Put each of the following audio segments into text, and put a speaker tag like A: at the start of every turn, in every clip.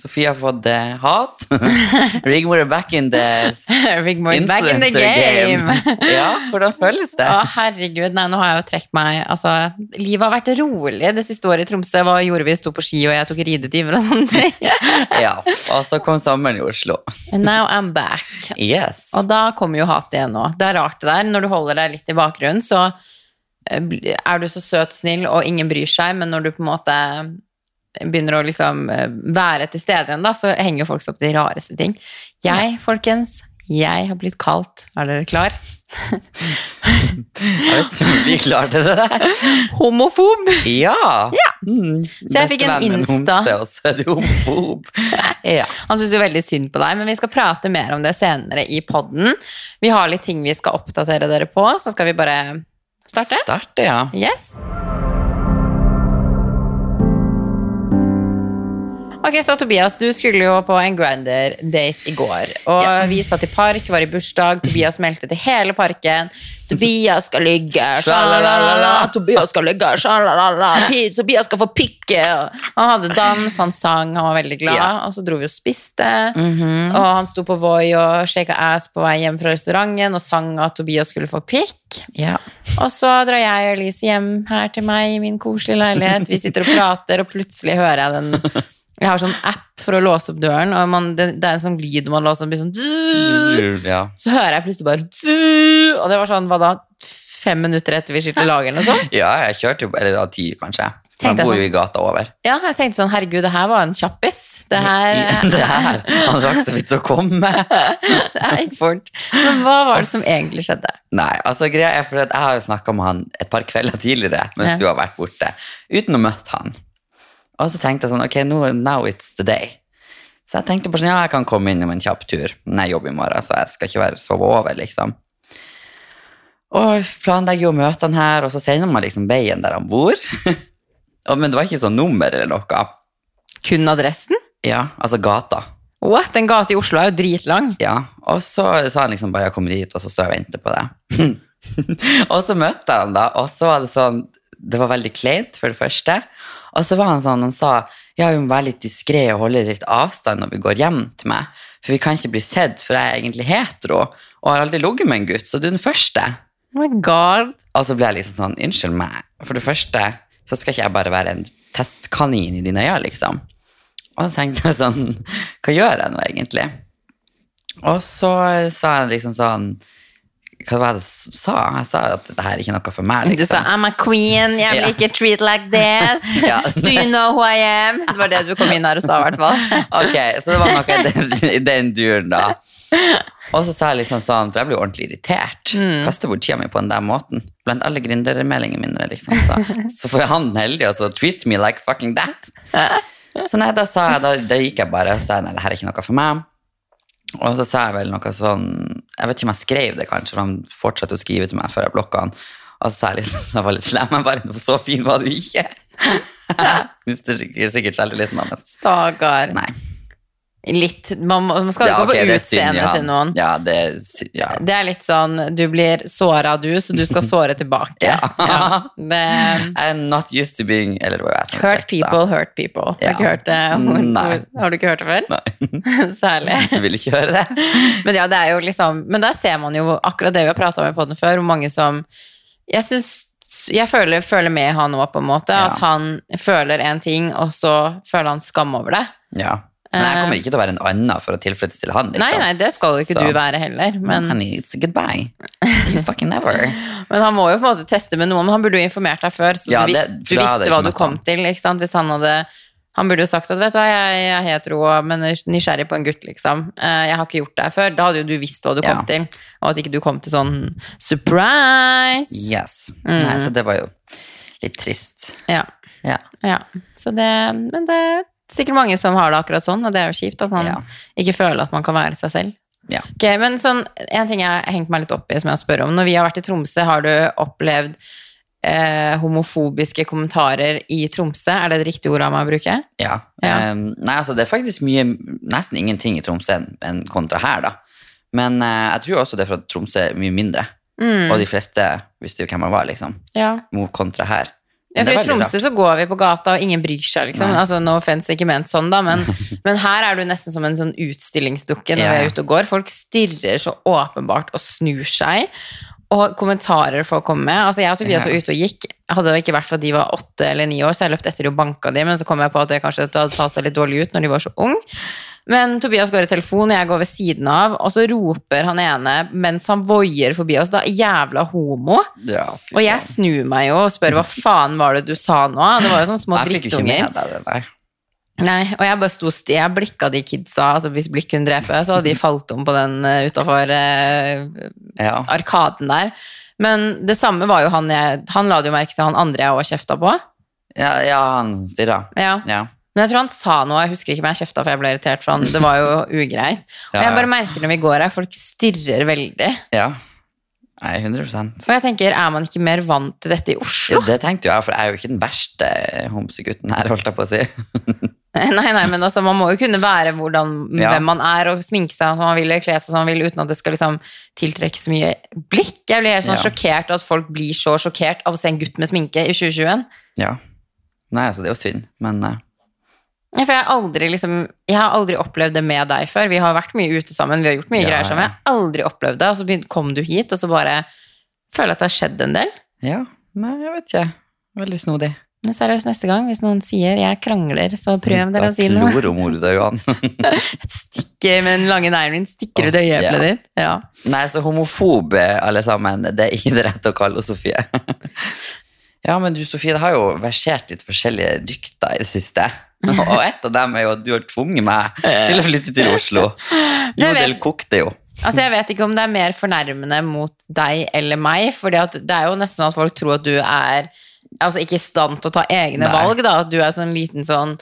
A: Sofie har fått eh, hat. Rigmor er back in the
B: Rigmore is back in the
A: influencer
B: game!
A: ja, hvordan føles det?
B: Å, herregud, nei, nå har jeg jo trukket meg Altså, livet har vært rolig det siste året i Tromsø. Hva gjorde vi? Sto på ski, og jeg tok ridetimer og sånne ting.
A: Ja, Og så kom sommeren i Oslo.
B: And now I'm back.
A: Yes.
B: Og da kommer jo hatet igjen nå. Det er rart det der. Når du holder deg litt i bakgrunnen, så eh, bl- er du så søt og snill, og ingen bryr seg, men når du på en måte begynner å liksom eh, være til stede igjen, da, så henger jo folk seg opp i de rareste ting. Jeg, folkens, jeg har blitt kalt. Er dere klar?
A: Jeg vet ikke om vi klarte det der.
B: Homofob!
A: Ja! Mm.
B: Så jeg fikk en
A: Bestevennen
B: Insta.
A: homse, og så er du homofob. Ja.
B: Han syns jo veldig synd på deg, men vi skal prate mer om det senere i podden. Vi har litt ting vi skal oppdatere dere på, så skal vi bare starte.
A: Starte, ja.
B: Yes. Ok, så Tobias, du skulle jo på en Grindr-date i går. Og vi satt i park, var i bursdag, Tobias meldte til hele parken. Tobias skal ligge, sjalalala. Tobias skal ligge, sjalalala. Pi- Tobias skal få pikke. Han hadde dans, han sang, han var veldig glad.
A: Ja.
B: Og så dro vi og spiste. Og han sto på Voi og shaka ass på vei hjem fra restauranten og sang at Tobias skulle få pikk.
A: ja.
B: Og så drar jeg og Elise hjem her til meg i min koselige leilighet. Vi sitter og prater, og plutselig hører jeg den Jeg har sånn app for å låse opp døren, og man, det, det er en sånn lyd man låser opp, blir sånn «Dzz».
A: ja.
B: Så hører jeg plutselig bare «Dzz», Og det var sånn, hva da? Fem minutter etter vi skilte lag, eller noe sånt?
A: Ja, jeg kjørte jo Eller da ti, kanskje. Man
B: Tenkte jeg sånn.
A: bor jo i gata over.
B: Ja, jeg tenkte sånn, herregud, det her var en kjappis. Det her
A: Det her, Han rakk så vidt å komme.
B: det her gikk fort. Men hva var det som egentlig skjedde?
A: Nei, altså greia er for at Jeg har jo snakka med han et par kvelder tidligere mens
B: Ja.
A: du har vært borte, uten å møtt han. Og så tenkte jeg sånn, ok, nå, now it's the day. Så jeg tenkte på sånn, ja, jeg kan komme innom en kjapp tur. Men jeg jobber i morgen, så jeg skal ikke være, sove over, liksom. Og jeg planlegger jo å møte han her, og så sender man liksom veien der han bor. Og- Men det var ikke sånn nummer eller noe.
B: Kun adressen?
A: Ja, altså gata.
B: What? En gate i Oslo er jo dritlang.
A: Ja, og så sa han liksom bare jeg kommer dit, og så står jeg og venter på det. og så møtte jeg han da, og så var det sånn, det var veldig kleint for det første. Og så var han sånn, han sa, ja, vi må være litt diskret og holde litt avstand når vi går hjem til meg, for vi kan ikke bli sedd, for jeg er egentlig hetero, og har aldri ligget med en gutt, så du er den første.
B: Oh my god.
A: Og så ble jeg liksom sånn, unnskyld meg, for det første, så skal ikke jeg bare være en testkanin i dine øyne, liksom. Og så tenkte jeg sånn, hva gjør jeg nå egentlig? Og så sa jeg liksom sånn, hva var det jeg sa? Jeg sa at dette her er ikke noe for meg,
B: Du sa
A: liksom.
B: 'I'm a queen, jeg vil
A: Ja.
B: ikke treat like this'.
A: Ja.
B: Do you know who I am? Det var det du kom inn her og sa, i hvert fall.
A: Ok, så det var noe i den- i den duren da. Og så sa jeg liksom sånn, for jeg ble jo ordentlig irritert. Kaste bort tida mi på den der måten. Blant alle gründermeldingene mine, liksom. Så, så får han heldig, og så treat me like fucking that. Så nei, da sa jeg, da, da gikk jeg bare og sa nei, det her er ikke noe for meg. Og så sa jeg vel noe sånn Jeg vet ikke om jeg skrev det, kanskje, for han fortsatte å skrive til meg før jeg blokka han. Og så sa jeg liksom, jeg var litt slem, jeg bare Så fin var du ikke! Knuste sikkert, sikkert selvtilliten hans.
B: Stakkar.
A: Nei.
B: Litt. Man, må- man skal jo
A: Ja,
B: ikke
A: ok,
B: gå på
A: det er synd i
B: utseendet
A: han.
B: til noen.
A: Ja, det er sy- ja.
B: Det er litt sånn du blir såra, du, så du skal såre tilbake.
A: Ja.
B: Det,
A: I'm not used to being Eller det var jo jeg som
B: Mm. hurt
A: trekk, da.
B: people, hurt people.
A: Ja.
B: Har du ikke hørt det?
A: Nei.
B: Har du ikke hørt det før? Særlig.
A: Du vil ikke høre det?
B: Men ja, det er jo liksom Men der ser man jo hvor- akkurat det vi har prata om i podden før, hvor mange som Jeg synes jeg føler, føler med han òg, på en måte.
A: Ja.
B: At han føler en ting, og så føler han skam over det.
A: Ja. Men jeg kommer ikke til å være en annen for å tilfredsstille han. Liksom.
B: Eh. Nei, nei, det skal jo ikke
A: Så.
B: du være heller. Men,
A: Honey, it's goodbye. See you fucking never.
B: men han må jo på en måte teste med noen. Han burde jo informert deg før, så
A: Ja,
B: du,
A: det-
B: visste- du
A: for da hadde jeg
B: visste hva
A: ikke
B: du
A: møtt
B: kom
A: han.
B: til. Ikke sant? Hvis han hadde han burde jo sagt at vet du hva, jeg, jeg er hetero, men er nysgjerrig på en gutt, liksom. Eh, Jeg har ikke gjort det her før. Da hadde jo du visst hva du
A: Ja.
B: kom til, og at ikke du kom til sånn surprise.
A: Yes. Nei,
B: Mm.
A: så det var jo litt trist.
B: Ja.
A: Ja.
B: Ja, så det, men det er sikkert mange som har det akkurat sånn, og det er jo kjipt at man
A: Ja.
B: ikke føler at man kan være seg selv.
A: Ja.
B: Ok, men sånn, En ting jeg har hengt meg litt opp i, som jeg spør om. Når vi har vært i Tromsø, har du opplevd eh, homofobiske kommentarer i Tromsø? Er det det riktige ordet av meg å bruke?
A: Ja.
B: Ja.
A: Eh, nei, altså det er faktisk mye, nesten ingenting i Tromsø enn- enn kontra her, da. Men eh, jeg tror også det er for at Tromsø er mye mindre.
B: Mm,
A: Og de fleste visste jo hvem jeg var, liksom.
B: ja.
A: Mot kontra her. Men det
B: Ja, for I
A: er veldig
B: Tromsø så går vi på gata, og ingen bryr seg. liksom.
A: Nei.
B: Altså, No offense, ikke ment sånn, da, men, men her er du nesten som en sånn utstillingsdukke når
A: Ja.
B: vi er ute og går. Folk stirrer så åpenbart og snur seg, og kommentarer får komme med. Altså, Jeg og Sofie
A: Ja.
B: så ute og gikk. Hadde det ikke vært for at de var åtte eller ni år, så jeg løpt etter de og banka de, men så kom jeg på at det kanskje hadde tatt seg litt dårlig ut når de var så ung. Men Tobias går i telefon, jeg går ved siden av, og så roper han ene mens han voier forbi oss, da, jævla homo.
A: Ja, fy
B: Og jeg
A: faen.
B: snur meg jo og spør hva faen var det du sa nå? Det var jo sånne små
A: Jeg fikk jo ikke
B: drittunger.
A: med deg det der.
B: Nei, og jeg bare sto sti, jeg blikka de kidsa, altså hvis blikk kunne drepe, så hadde de falt om på den uh, utafor eh,
A: Ja.
B: arkaden der. Men det samme var jo han jeg Han la det jo merke til han andre jeg også kjefta på.
A: Ja, ja, han stirra.
B: Ja.
A: Ja.
B: Men jeg tror han sa noe, jeg husker ikke, men jeg kjefta for jeg ble irritert, for han, det var jo ugreit. Og
A: Ja, ja.
B: jeg bare merker når vi går her, folk stirrer veldig.
A: ja. Nei, 100
B: Og jeg tenker, er man ikke mer vant til dette i Oslo?
A: ja, Det tenkte jo jeg, for jeg er jo ikke den verste homsegutten her, holdt jeg på å si.
B: Nei, nei, men altså, man må jo kunne være hvordan,
A: Ja.
B: hvem man er, og sminke seg som man vil, eller kle seg som man vil, uten at det skal liksom tiltrekke så mye blikk. Jeg blir helt sånn
A: Ja.
B: sjokkert at folk blir så sjokkert av å se en gutt med sminke i 2021.
A: Ja. Nei, altså, det er jo synd, men eh,
B: Ja, for jeg har, aldri, liksom, jeg har aldri opplevd det med deg før. Vi har vært mye ute sammen, vi har gjort mye
A: Ja,
B: greier sammen.
A: ja.
B: Jeg har aldri opplevd det, og så begyn- kom du hit, og så bare føler jeg at det har skjedd en del.
A: ja. Nei, jeg vet ikke. Veldig snodig.
B: Men seriøst, neste gang, hvis noen sier jeg krangler, så prøv dere å si
A: Da
B: noe.
A: klor om ordet, Johan.
B: Stikker med den lange neglen min, stikker ut
A: Åh, ja.
B: øyeeplet ditt. Ja.
A: Nei, så homofob alle sammen, det er ikke det rette å kalle henne Sofie. Ja, men du Sofie, det har jo versert litt forskjellige rykter i det siste. Og et av dem er jo at du har tvunget meg til å flytte til Oslo.
B: Jeg vet.
A: Jodel kokte jo.
B: Altså Jeg vet ikke om det er mer fornærmende mot deg eller meg, for det er jo nesten sånn at folk tror at du er altså ikke i stand til å ta egne
A: Nei.
B: valg. da, At du er sånn liten sånn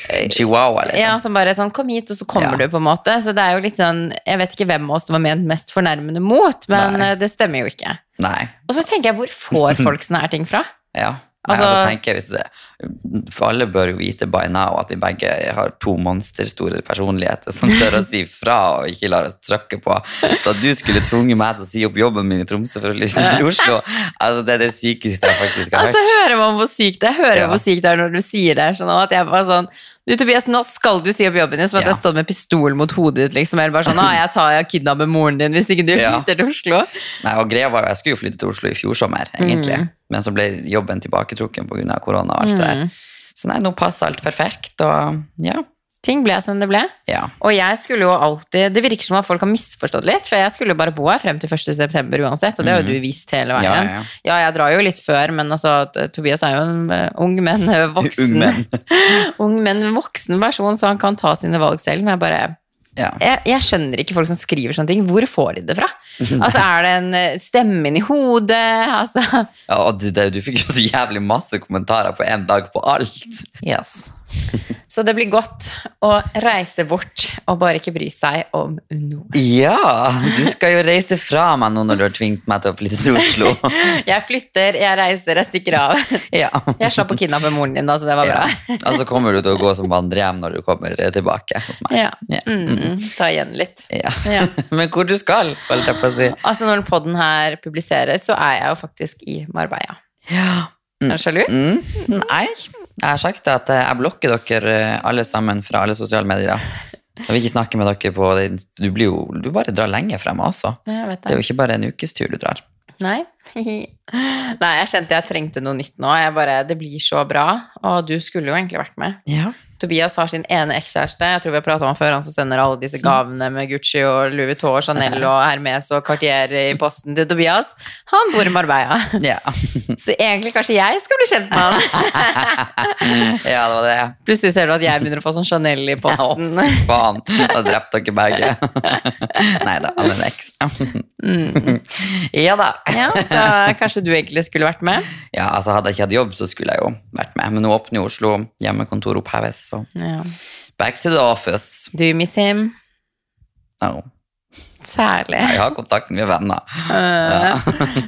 A: Chihuahua, liksom.
B: ja, som bare sånn, Kom hit, og så kommer
A: Ja.
B: du, på en måte. Så det er jo litt sånn Jeg vet ikke hvem av oss det var ment mest fornærmende mot, men
A: Nei.
B: eh, det stemmer jo ikke.
A: Nei,
B: Og så tenker jeg, hvor får folk sånne her ting fra?
A: ja. Nei,
B: Altså-
A: altså, tenker jeg hvis det, for alle bør jo vite by now at vi begge har to monsterstore personligheter som tør å si fra og ikke lar oss trøkke på. Så at du skulle tvunget meg til å si opp jobben min i Tromsø for å flytte til Oslo, altså det er det sykeste jeg faktisk har hørt.
B: Altså, hører man hvor sykt det er? Hører
A: Ja.
B: man hvor sykt det er når du sier det? Sånn at jeg bare sånn Du, Tobias, nå skal du si opp jobben din, som at
A: Ja.
B: jeg står med pistol mot hodet ditt, liksom. Eller bare sånn ah, jeg tar jeg kidnapper moren din hvis ikke du
A: Ja.
B: flytter til Oslo.
A: Nei, og greia var jo, Jeg skulle jo flytte til Oslo i fjor sommer, egentlig.
B: Mm.
A: Men så ble jobben tilbaketrukken pga. korona. og alt det
B: Mm.
A: der. Så nei, nå passer alt perfekt. Og ja.
B: Ting ble som det ble.
A: ja.
B: Og jeg skulle jo alltid Det virker som at folk har misforstått litt, for jeg skulle jo bare bo her frem til 1. september uansett, og det har jo du vist hele veien.
A: Mhm. Ja, ja, ja.
B: jeg drar jo litt før, men altså at, eh, Tobias er jo en eh, ung, men eh, voksen.
A: Ung menn.
B: ung, men voksen person, så han kan ta sine valg selv. Men jeg bare
A: Ja.
B: jeg, jeg skjønner ikke folk som skriver sånne ting. Hvor får de det fra? Altså, Er det en eh, stemme inni hodet? Altså,
A: Ja, og du, det, du fikk jo så jævlig masse kommentarer på én dag på alt.
B: yes. Så det blir godt å reise bort og bare ikke bry seg om noe.
A: Ja! Du skal jo reise fra meg nå når du har tvingt meg til å flytte til Oslo.
B: Jeg flytter, jeg reiser, jeg stikker av.
A: Ja.
B: Jeg slapp å kidnappe moren din, da, så det var
A: ja.
B: bra.
A: Og så kommer du til å gå som vandrehjem når du kommer tilbake hos meg.
B: Ja. Mm, ta igjen litt.
A: Ja.
B: Ja.
A: Men hvor du skal, holdt jeg på å si.
B: Altså, når podden her publiseres, så er jeg jo faktisk i Marbella. Er du sjalu?
A: Mm, nei, jeg har sagt at eh, jeg blokker dere eh, alle sammen fra alle sosiale medier. Jeg vil ikke snakke med dere på din- Du, blir jo, du bare drar lenge frem også.
B: Ja, Jeg vet
A: Det er jo ikke bare en ukes tur du drar.
B: Nei. Nei, jeg kjente jeg trengte noe nytt nå. Jeg bare, det blir så bra. Og du skulle jo egentlig vært med.
A: Ja.
B: Tobias har sin ene ekskjæreste. Jeg tror vi har pratet om han før, han som sender alle disse gavene med Gucci og Louis Vuitton og Chanel og Hermes og Cartier i posten til Tobias. Han bor i Marbella.
A: Ja.
B: Så egentlig kanskje jeg skal bli kjent med han.
A: ja, det var det.
B: Plutselig ser du at jeg begynner å få sånn Chanel i
A: Å,
B: posten.
A: faen. Da drepte dere begge. Nei da, han er en eks. Ja da.
B: Ja, så kanskje du egentlig skulle vært med.
A: Ja, altså Hadde jeg ikke hatt jobb, så skulle jeg jo vært med. Men nå åpner jo Oslo, hjemmekontor oppheves, så
B: Ja.
A: back to the office.
B: Do you miss him?
A: Oh.
B: Særlig.
A: Jeg har kontakt med mye venner.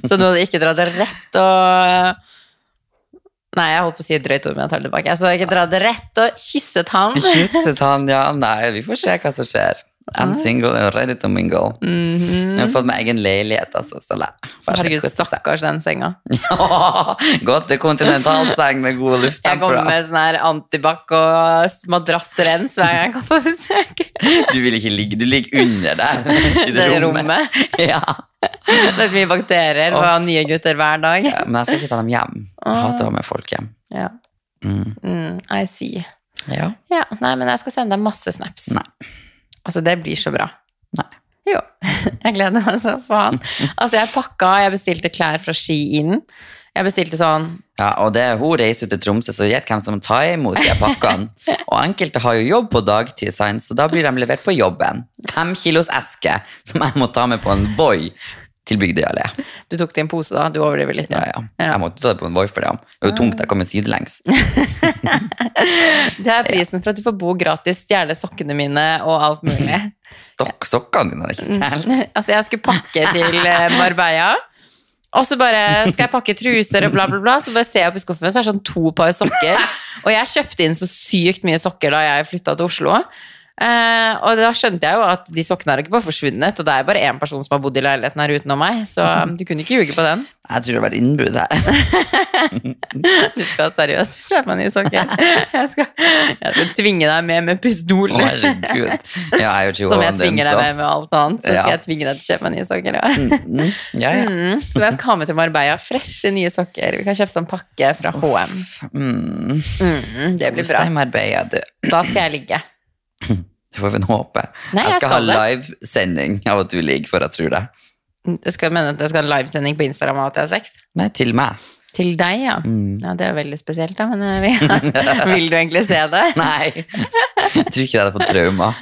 B: Så du hadde ikke dratt det rett og Nei, jeg holdt på å si et drøyt ord, men jeg tar det tilbake. Så jeg hadde ikke dratt det rett og kysset han.
A: Kysset han, ja. Nei, vi får se hva som skjer. I'm single and ready to mingle.
B: Mhm.
A: Jeg har fått meg egen leilighet, altså. Så la. bare se
B: Herregud,
A: hvordan det
B: stakkars den senga.
A: er. Gå til kontinentalseng med god
B: Jeg kommer
A: lufttemper.
B: med sånn her antibac og s- madrassrens hver gang jeg kommer på besøk.
A: Du vil ikke ligge, du ligger under der. I det,
B: Det
A: rommet.
B: rommet.
A: Ja.
B: Det er så mye bakterier
A: Åh.
B: og nye gutter hver dag.
A: Men jeg skal ikke ta dem hjem. Jeg hater å ha
B: Ah.
A: med folk hjem.
B: Ja.
A: Mm.
B: Mm, I see.
A: Ja.
B: Ja, nei, men jeg skal sende deg masse snaps.
A: Nei.
B: Altså, det blir så bra.
A: Nei.
B: Jo. Jeg gleder meg så faen. Altså, jeg pakka, jeg bestilte klær fra Ski inn. Jeg bestilte sånn
A: Ja, og det, hun reiser til Tromsø, så gjett hvem som tar imot de pakkene. Og enkelte har jo jobb på dagtid, sant? så da blir de levert på jobben. Fem kilos eske som jeg må ta med på en Voi til Bygdøy allé.
B: Du tok det i en pose, da. Du overdriver litt.
A: Ja,
B: nå.
A: ja. Jeg måtte ta det på en Voi for det. Det er jo tungt, jeg kommer sidelengs.
B: Det er prisen for at du får bo gratis, stjele sokkene mine og alt mulig.
A: Stokk sokkene dine, har jeg ikke telt.
B: altså, jeg skulle pakke til eh, Marbella. Og så bare skal jeg pakke truser og bla, bla, bla. Så bare ser jeg opp i skuffen, så er det sånn to par sokker. Og jeg kjøpte inn så sykt mye sokker da jeg flytta til Oslo. Eh, og da skjønte jeg jo at de sokkene har ikke bare forsvunnet, og det er bare én person som har bodd i leiligheten her utenom meg, så
A: Mhm.
B: um, du kunne ikke ljuge på den.
A: Jeg tror det har vært innbrudd her.
B: Du skal seriøst kjøpe meg nye sokker. Jeg skal, jeg skal tvinge deg med med pistol.
A: Å, herregud. Ja, jeg er jo
B: Som jeg
A: chihuahuaen din,
B: tvinger deg med med alt annet. Så
A: Ja.
B: skal jeg tvinge deg til å kjøpe meg nye sokker. Ja.
A: Mm, Ja, ja.
B: Mm, som jeg skal ha med til Marbella. Freshe nye sokker. Vi kan kjøpe sånn pakke fra HM.
A: Mm.
B: Mm, det blir bra.
A: Steinarbeidet, du.
B: Da skal jeg ligge.
A: Det får vi håpe.
B: Nei,
A: jeg
B: jeg
A: skal ha
B: skal det.
A: livesending av at du ligger, for jeg tror det.
B: Du skal mene at jeg skal ha en livesending på Instagram av at jeg har sex?
A: Nei, til meg.
B: Til deg, ja.
A: Mm.
B: ja det er veldig spesielt, da. Men eh, vi- vil du egentlig se det?
A: Nei. Jeg tror ikke jeg hadde fått traumer.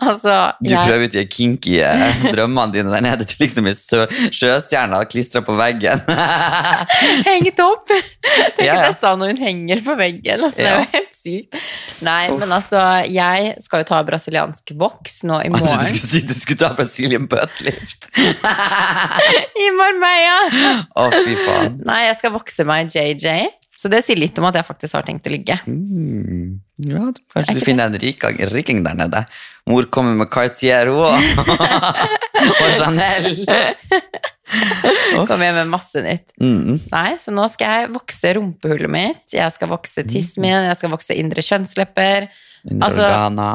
B: Altså,
A: Du
B: jeg,
A: prøver ut de kinky eh, drømmene dine der nede. Du liksom er sø sjøstjerna klistra på veggen.
B: hengt opp!
A: Ja,
B: Tenk
A: ja.
B: at jeg sa når hun henger på veggen. Altså, Det er
A: Ja.
B: jo helt sykt. Nei, men altså, jeg skal jo ta brasiliansk voks nå i
A: Jeg trodde du
B: morgen.
A: skulle si du skulle ta Brazilian buttlift.
B: I Marbella!
A: Å, fy faen.
B: Nei, jeg skal vokse meg JJ. Så det sier litt om at jeg faktisk har tenkt å ligge.
A: Mm. Ja, du- kanskje
B: ikke
A: du finner en riking, riking der nede. Mor kommer med Cartier hun også. og Chanel.
B: Kom hjem med masse nytt.
A: Mm.
B: Nei, så nå skal jeg vokse rumpehullet mitt, jeg skal vokse tissen min, jeg skal vokse indre kjønnslepper. Altså-
A: Organa.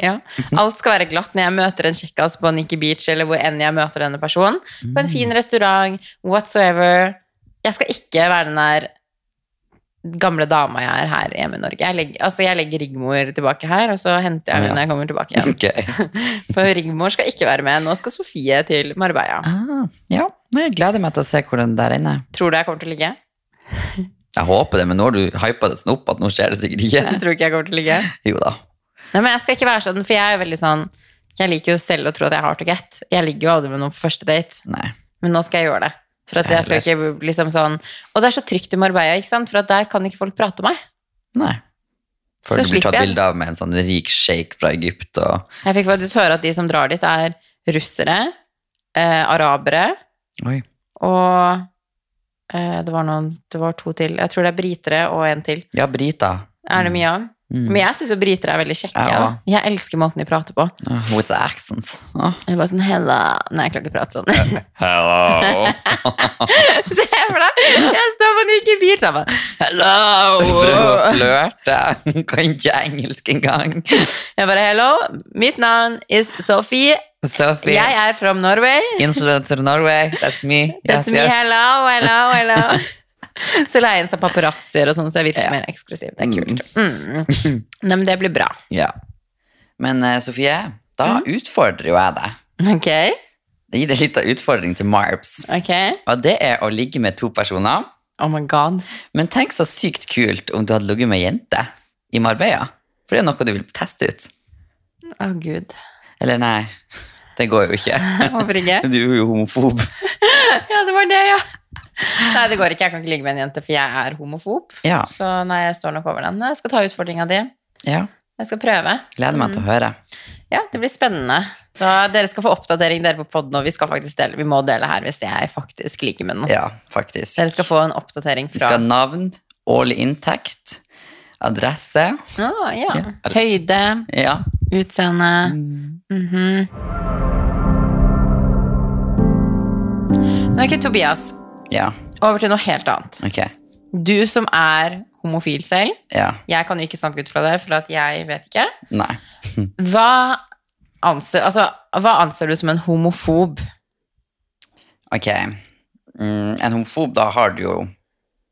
B: ja. Alt skal være glatt når jeg møter en kjekkas på Nikki Beach, eller hvor enn jeg møter denne personen. På
A: Mm.
B: en fin restaurant, whatsoever. Jeg skal ikke være den der gamle dama jeg er her hjemme i Norge. Jeg legger, altså, jeg legger Rigmor tilbake her, og så henter jeg
A: Ja.
B: henne når jeg kommer tilbake igjen.
A: Ok.
B: For Rigmor skal ikke være med. Nå skal Sofie til Marbella.
A: Ah, ja, Nei, jeg gleder meg til å se hvor den der inne er.
B: Tror du jeg kommer til å ligge?
A: Jeg håper det, men nå har du hypa det sånn opp at nå skjer det sikkert ikke.
B: Jeg tror ikke jeg kommer til å ligge.
A: Jo da.
B: Nei, men jeg skal ikke være sånn, for jeg er veldig sånn Jeg liker jo selv å tro at jeg har to get. Jeg ligger jo aldri med noen på første date,
A: Nei.
B: men nå skal jeg gjøre det. For at jeg skal ikke bli liksom sånn Og det er så trygt i Marbella, ikke sant? for at der kan ikke folk prate om meg.
A: Nei.
B: Så
A: Før du blir
B: slipper
A: tatt
B: jeg.
A: bilde av med en sånn rik shake fra Egypt og
B: Jeg fikk faktisk høre at de som drar dit, er russere, eh, arabere
A: Oi.
B: og eh, det, var noen, det var to til. Jeg tror det er britere og en til.
A: Ja, Brita.
B: Er det mye av?
A: Mm.
B: Men jeg syns jo britere er veldig kjekke.
A: Jeg
B: Jeg, jeg elsker måten de prater på.
A: Ah, With the accent. Ah.
B: Jeg er bare sånn, Hella. Nei, jeg klarer ikke å prate sånn.
A: Hello!
B: Se for deg, jeg står på en uke i bil så jeg bare,
A: Prøv å
B: Hello!
A: flørte. Kan ikke engelsk engang.
B: Jeg bare hello, mitt navn is Sophie,
A: Sophie,
B: jeg er from Norway.
A: influencer Norway, that's me.
B: That's me, hello, hello, hello. Så la jeg inn sånn paparazzier og sånn, så jeg virker mer eksklusiv. Det er kult. Mm. Nei, men det blir bra.
A: Ja. Men eh, Sofie, da
B: Mm.
A: utfordrer jo jeg deg.
B: Ok,
A: Jeg gir deg litt av utfordring til Marps.
B: ok.
A: Og det er å ligge med to personer.
B: Oh my god.
A: Men tenk så sykt kult om du hadde ligget med ei jente i Marbella. For det er noe du vil teste ut.
B: Å gud.
A: Eller nei, det går jo ikke.
B: Hvorfor ikke?
A: Du er jo homofob.
B: Ja, det var det, ja. Nei, det går ikke. Jeg kan ikke ligge med en jente, for jeg er homofob.
A: Ja,
B: Så nei, jeg står nok over den. Jeg skal ta utfordringen din.
A: ja.
B: Jeg skal prøve. Mm.
A: Gleder meg til å høre.
B: Ja, det blir spennende. Så dere skal få oppdatering dere på podden, og vi skal faktisk dele. Vi må dele her hvis jeg faktisk ligger med noen.
A: Ja, faktisk.
B: Dere skal få en oppdatering
A: Vi skal ha
B: fra
A: navn, årlig inntekt, adresse.
B: Ah, ja.
A: Ja. Mm.
B: Høyde,
A: Ja.
B: utseende mhm. Men ok, Tobias.
A: Ja,
B: Over til noe helt annet.
A: ok.
B: Du som er homofil selv,
A: Ja.
B: jeg kan jo ikke snakke ut fra det, for at jeg vet ikke.
A: Nei.
B: Hva anser, altså, hva anser du som en homofob?
A: Ok. Mm, en homofob, da har du jo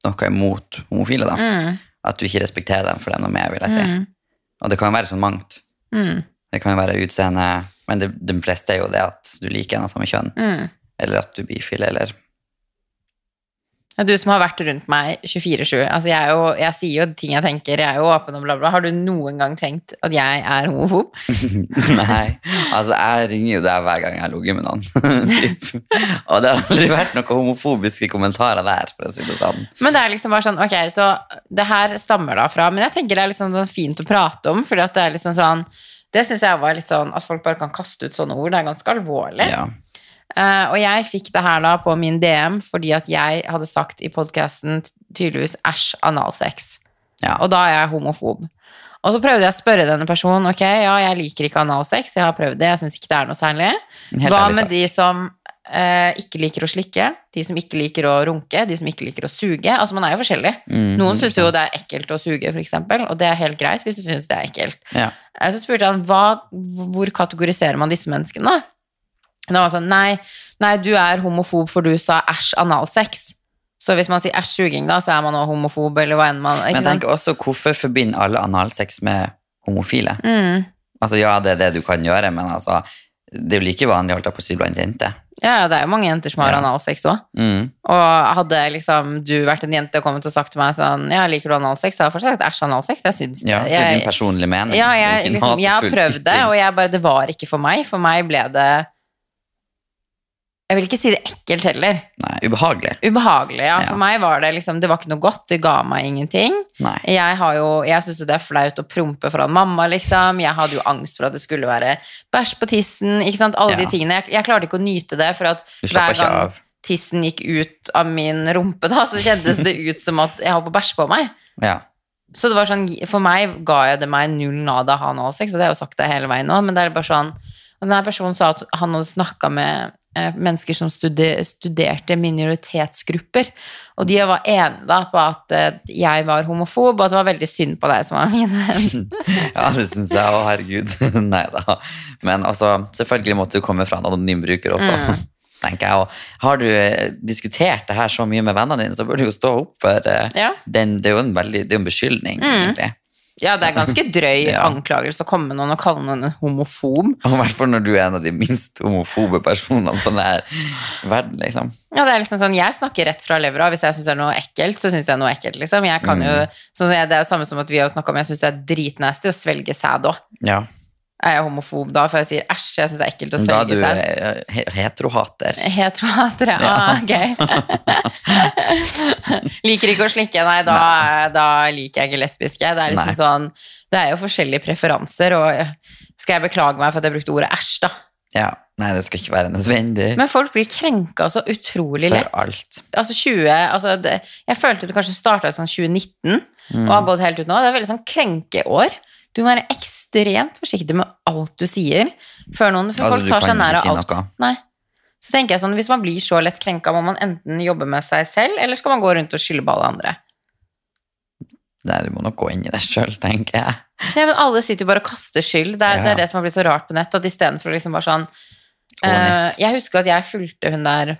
A: noe imot homofile, da.
B: Mm,
A: At du ikke respekterer dem for dem noe mer, vil jeg si.
B: mm,
A: Og det kan jo være sånn mangt.
B: mm,
A: Det kan jo være utseende, men det, de fleste er jo det at du liker en av samme kjønn,
B: mm.
A: eller at du er bifil, eller
B: Ja, Du som har vært rundt meg 24-7. Altså jeg, er jo, jeg sier jo ting jeg tenker, jeg er jo åpen og bla, bla. Har du noen gang tenkt at jeg er homofob?
A: Nei. Altså, jeg ringer jo deg hver gang jeg har ligget med noen. typ. Og det har aldri vært noen homofobiske kommentarer der, for å si det sånn.
B: Men det er liksom bare sånn, ok, så det her stammer da fra. Men jeg tenker det er liksom sånn fint å prate om, fordi at det er liksom sånn Det syns jeg var litt sånn at folk bare kan kaste ut sånne ord. Det er ganske alvorlig.
A: Ja.
B: Eh, og jeg fikk det her da på min DM fordi at jeg hadde sagt i podkasten tydeligvis æsj analsex.
A: Ja.
B: Og da er jeg homofob. Og så prøvde jeg å spørre denne personen ok, ja, jeg liker ikke analsex, jeg har prøvd det, jeg syns ikke det er noe særlig.
A: Helt
B: Hva
A: ærlig
B: med
A: sagt.
B: de som eh, ikke liker å slikke, de som ikke liker å runke, de som ikke liker å suge? Altså, man er jo forskjellig.
A: Mm,
B: Noen syns jo det er ekkelt å suge, for eksempel, og det er helt greit hvis du syns det er ekkelt.
A: ja.
B: Eh, Så spurte jeg han, hva, hvor kategoriserer man disse menneskene da? Og Da var han sånn, nei, nei, du er homofob for du sa æsj analsex. Så hvis man sier æsj suging da, så er man også homofob, eller hva enn man...
A: Men
B: Ikke
A: jeg
B: sant?
A: tenker også, hvorfor forbinder alle analsex med homofile?
B: Mm.
A: Altså, ja, det er det du kan gjøre, men altså, det er jo like vanlig, holdt jeg på å si, blant jenter.
B: Ja, ja, det er jo mange jenter som har
A: Ja.
B: analsex også.
A: Mm.
B: Og hadde liksom du vært en jente og kommet og sagt til meg sånn, ja, liker du analsex? Da hadde jeg fortsatt sagt æsj analsex, jeg synes det.
A: Ja, det er din
B: Jeg,
A: personlige mening.
B: ja,
A: Mm, Det er
B: jeg,
A: ikke en
B: liksom, jeg har
A: hatefull
B: prøvd det,
A: ytring.
B: og jeg bare, det var ikke for meg. For meg ble det... Jeg vil ikke si det ekkelt heller.
A: Nei, ubehagelig.
B: Ubehagelig, ja. For
A: Ja.
B: meg var det liksom Det var ikke noe godt, det ga meg ingenting.
A: Nei.
B: Jeg, har jo, jeg syns jo det er flaut å prompe foran mamma, liksom. Jeg hadde jo angst for at det skulle være bæsj på tissen, ikke sant. Alle
A: Ja.
B: de tingene. Jeg, jeg klarte ikke å nyte det, for at
A: Du slapper
B: hver
A: ikke
B: gang
A: av.
B: tissen gikk ut av min rumpe, da, så kjentes det ut som at jeg holdt på å bæsje på meg.
A: Ja.
B: Så det var sånn, for meg ga jeg det meg null nada han også, ikke? så det har jeg jo sagt det hele veien nå, men det er bare sånn, og denne personen sa at han hadde snakket med eh, mennesker som stude, studerte minoritetsgrupper, og de var enige da på at eh, jeg var homofob, og at det var veldig synd på deg som var min venn.
A: ja, det syns jeg òg, herregud. Nei da. Men altså, selvfølgelig måtte du komme fra en anonym bruker også.
B: Mm.
A: tenker jeg. Og har du eh, diskutert det her så mye med vennene dine, så bør du jo stå opp for eh,
B: Ja. Mm.
A: den, Det er jo en, veldig, det er jo en beskyldning, egentlig.
B: Ja, det er ganske drøy
A: Ja.
B: anklagelse å komme med noen og kalle noen en homofob.
A: Og i hvert fall når du er en av de minst homofobe personene på denne verden, liksom.
B: Ja, det er liksom sånn, Jeg snakker rett fra levra. Hvis jeg syns det er noe ekkelt, så syns jeg noe ekkelt. liksom. Jeg kan jo, sånn som jeg, Det er jo samme som at vi har snakket om, jeg syns det er dritnasty å svelge sæd òg.
A: Ja.
B: Er jeg homofob da, for jeg sier æsj, jeg syns det er ekkelt å
A: Da er du
B: svelge sæd?
A: eh, he- heterohater.
B: Heterohatere, ah, gøy. liker ikke å slikke, nei, da, da liker jeg ikke lesbiske. Det er liksom
A: Nei.
B: sånn, det er jo forskjellige preferanser, og skal jeg beklage meg for at jeg brukte ordet æsj, da?
A: Ja. Nei, det skal ikke være nødvendig.
B: Men folk blir krenka så utrolig
A: For
B: lett.
A: alt.
B: altså 20, altså det, jeg følte det kanskje startet sånn 2019,
A: Mm.
B: og har gått helt ut nå. Det er veldig sånn krenkeår. Du må være ekstremt forsiktig med alt du sier, før noen, for
A: Altså,
B: folk
A: du
B: tar
A: kan
B: seg nær
A: ikke
B: av
A: si
B: alt.
A: noe.
B: Nei. Så tenker jeg sånn, hvis man blir så lett krenka, må man enten jobbe med seg selv, eller skal man gå rundt og skylde på alle andre.
A: Nei, du må nok gå inn i det sjøl, tenker jeg.
B: Nei, men alle sitter jo bare og kaster skyld. Det er,
A: Ja.
B: det er det som har blitt så rart på nett, at istedenfor å liksom bare sånn
A: Og
B: eh,
A: nett.
B: Jeg husker at jeg fulgte hun der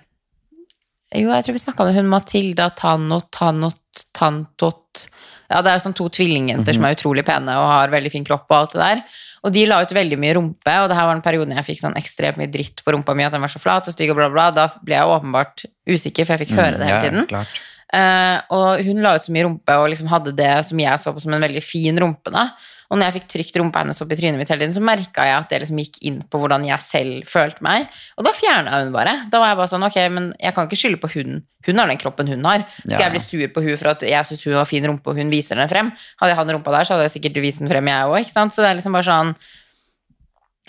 B: Jo, jeg tror vi snakka om det. Hun Matilda Tanot, Tanot, Tantot Ja, det er jo sånn to tvillingjenter
A: Mhm.
B: som er utrolig pene og har veldig fin kropp og alt det der. Og de la ut veldig mye rumpe, og det her var den perioden jeg fikk sånn ekstremt mye dritt på rumpa mi, at den var så flat og stygg og bla, bla. Da ble jeg åpenbart usikker, for jeg fikk høre det
A: Mm, Ja,
B: hele
A: ja,
B: tiden.
A: klart.
B: Eh, og hun la ut så mye rumpe og liksom hadde det som jeg så på som en veldig fin rumpe. da. Og når jeg fikk trykt rumpa hennes opp i trynet mitt hele tiden, så merka jeg at det liksom gikk inn på hvordan jeg selv følte meg. Og da fjerna hun bare. Da var jeg bare sånn, ok, men jeg kan ikke skylde på hun. Hun har den kroppen hun har. Skal
A: Ja.
B: jeg bli sur på hun for at jeg syns hun har fin rumpe, og hun viser den frem? Hadde jeg hatt den rumpa der, så hadde jeg sikkert vist den frem, jeg òg. Så det er liksom bare sånn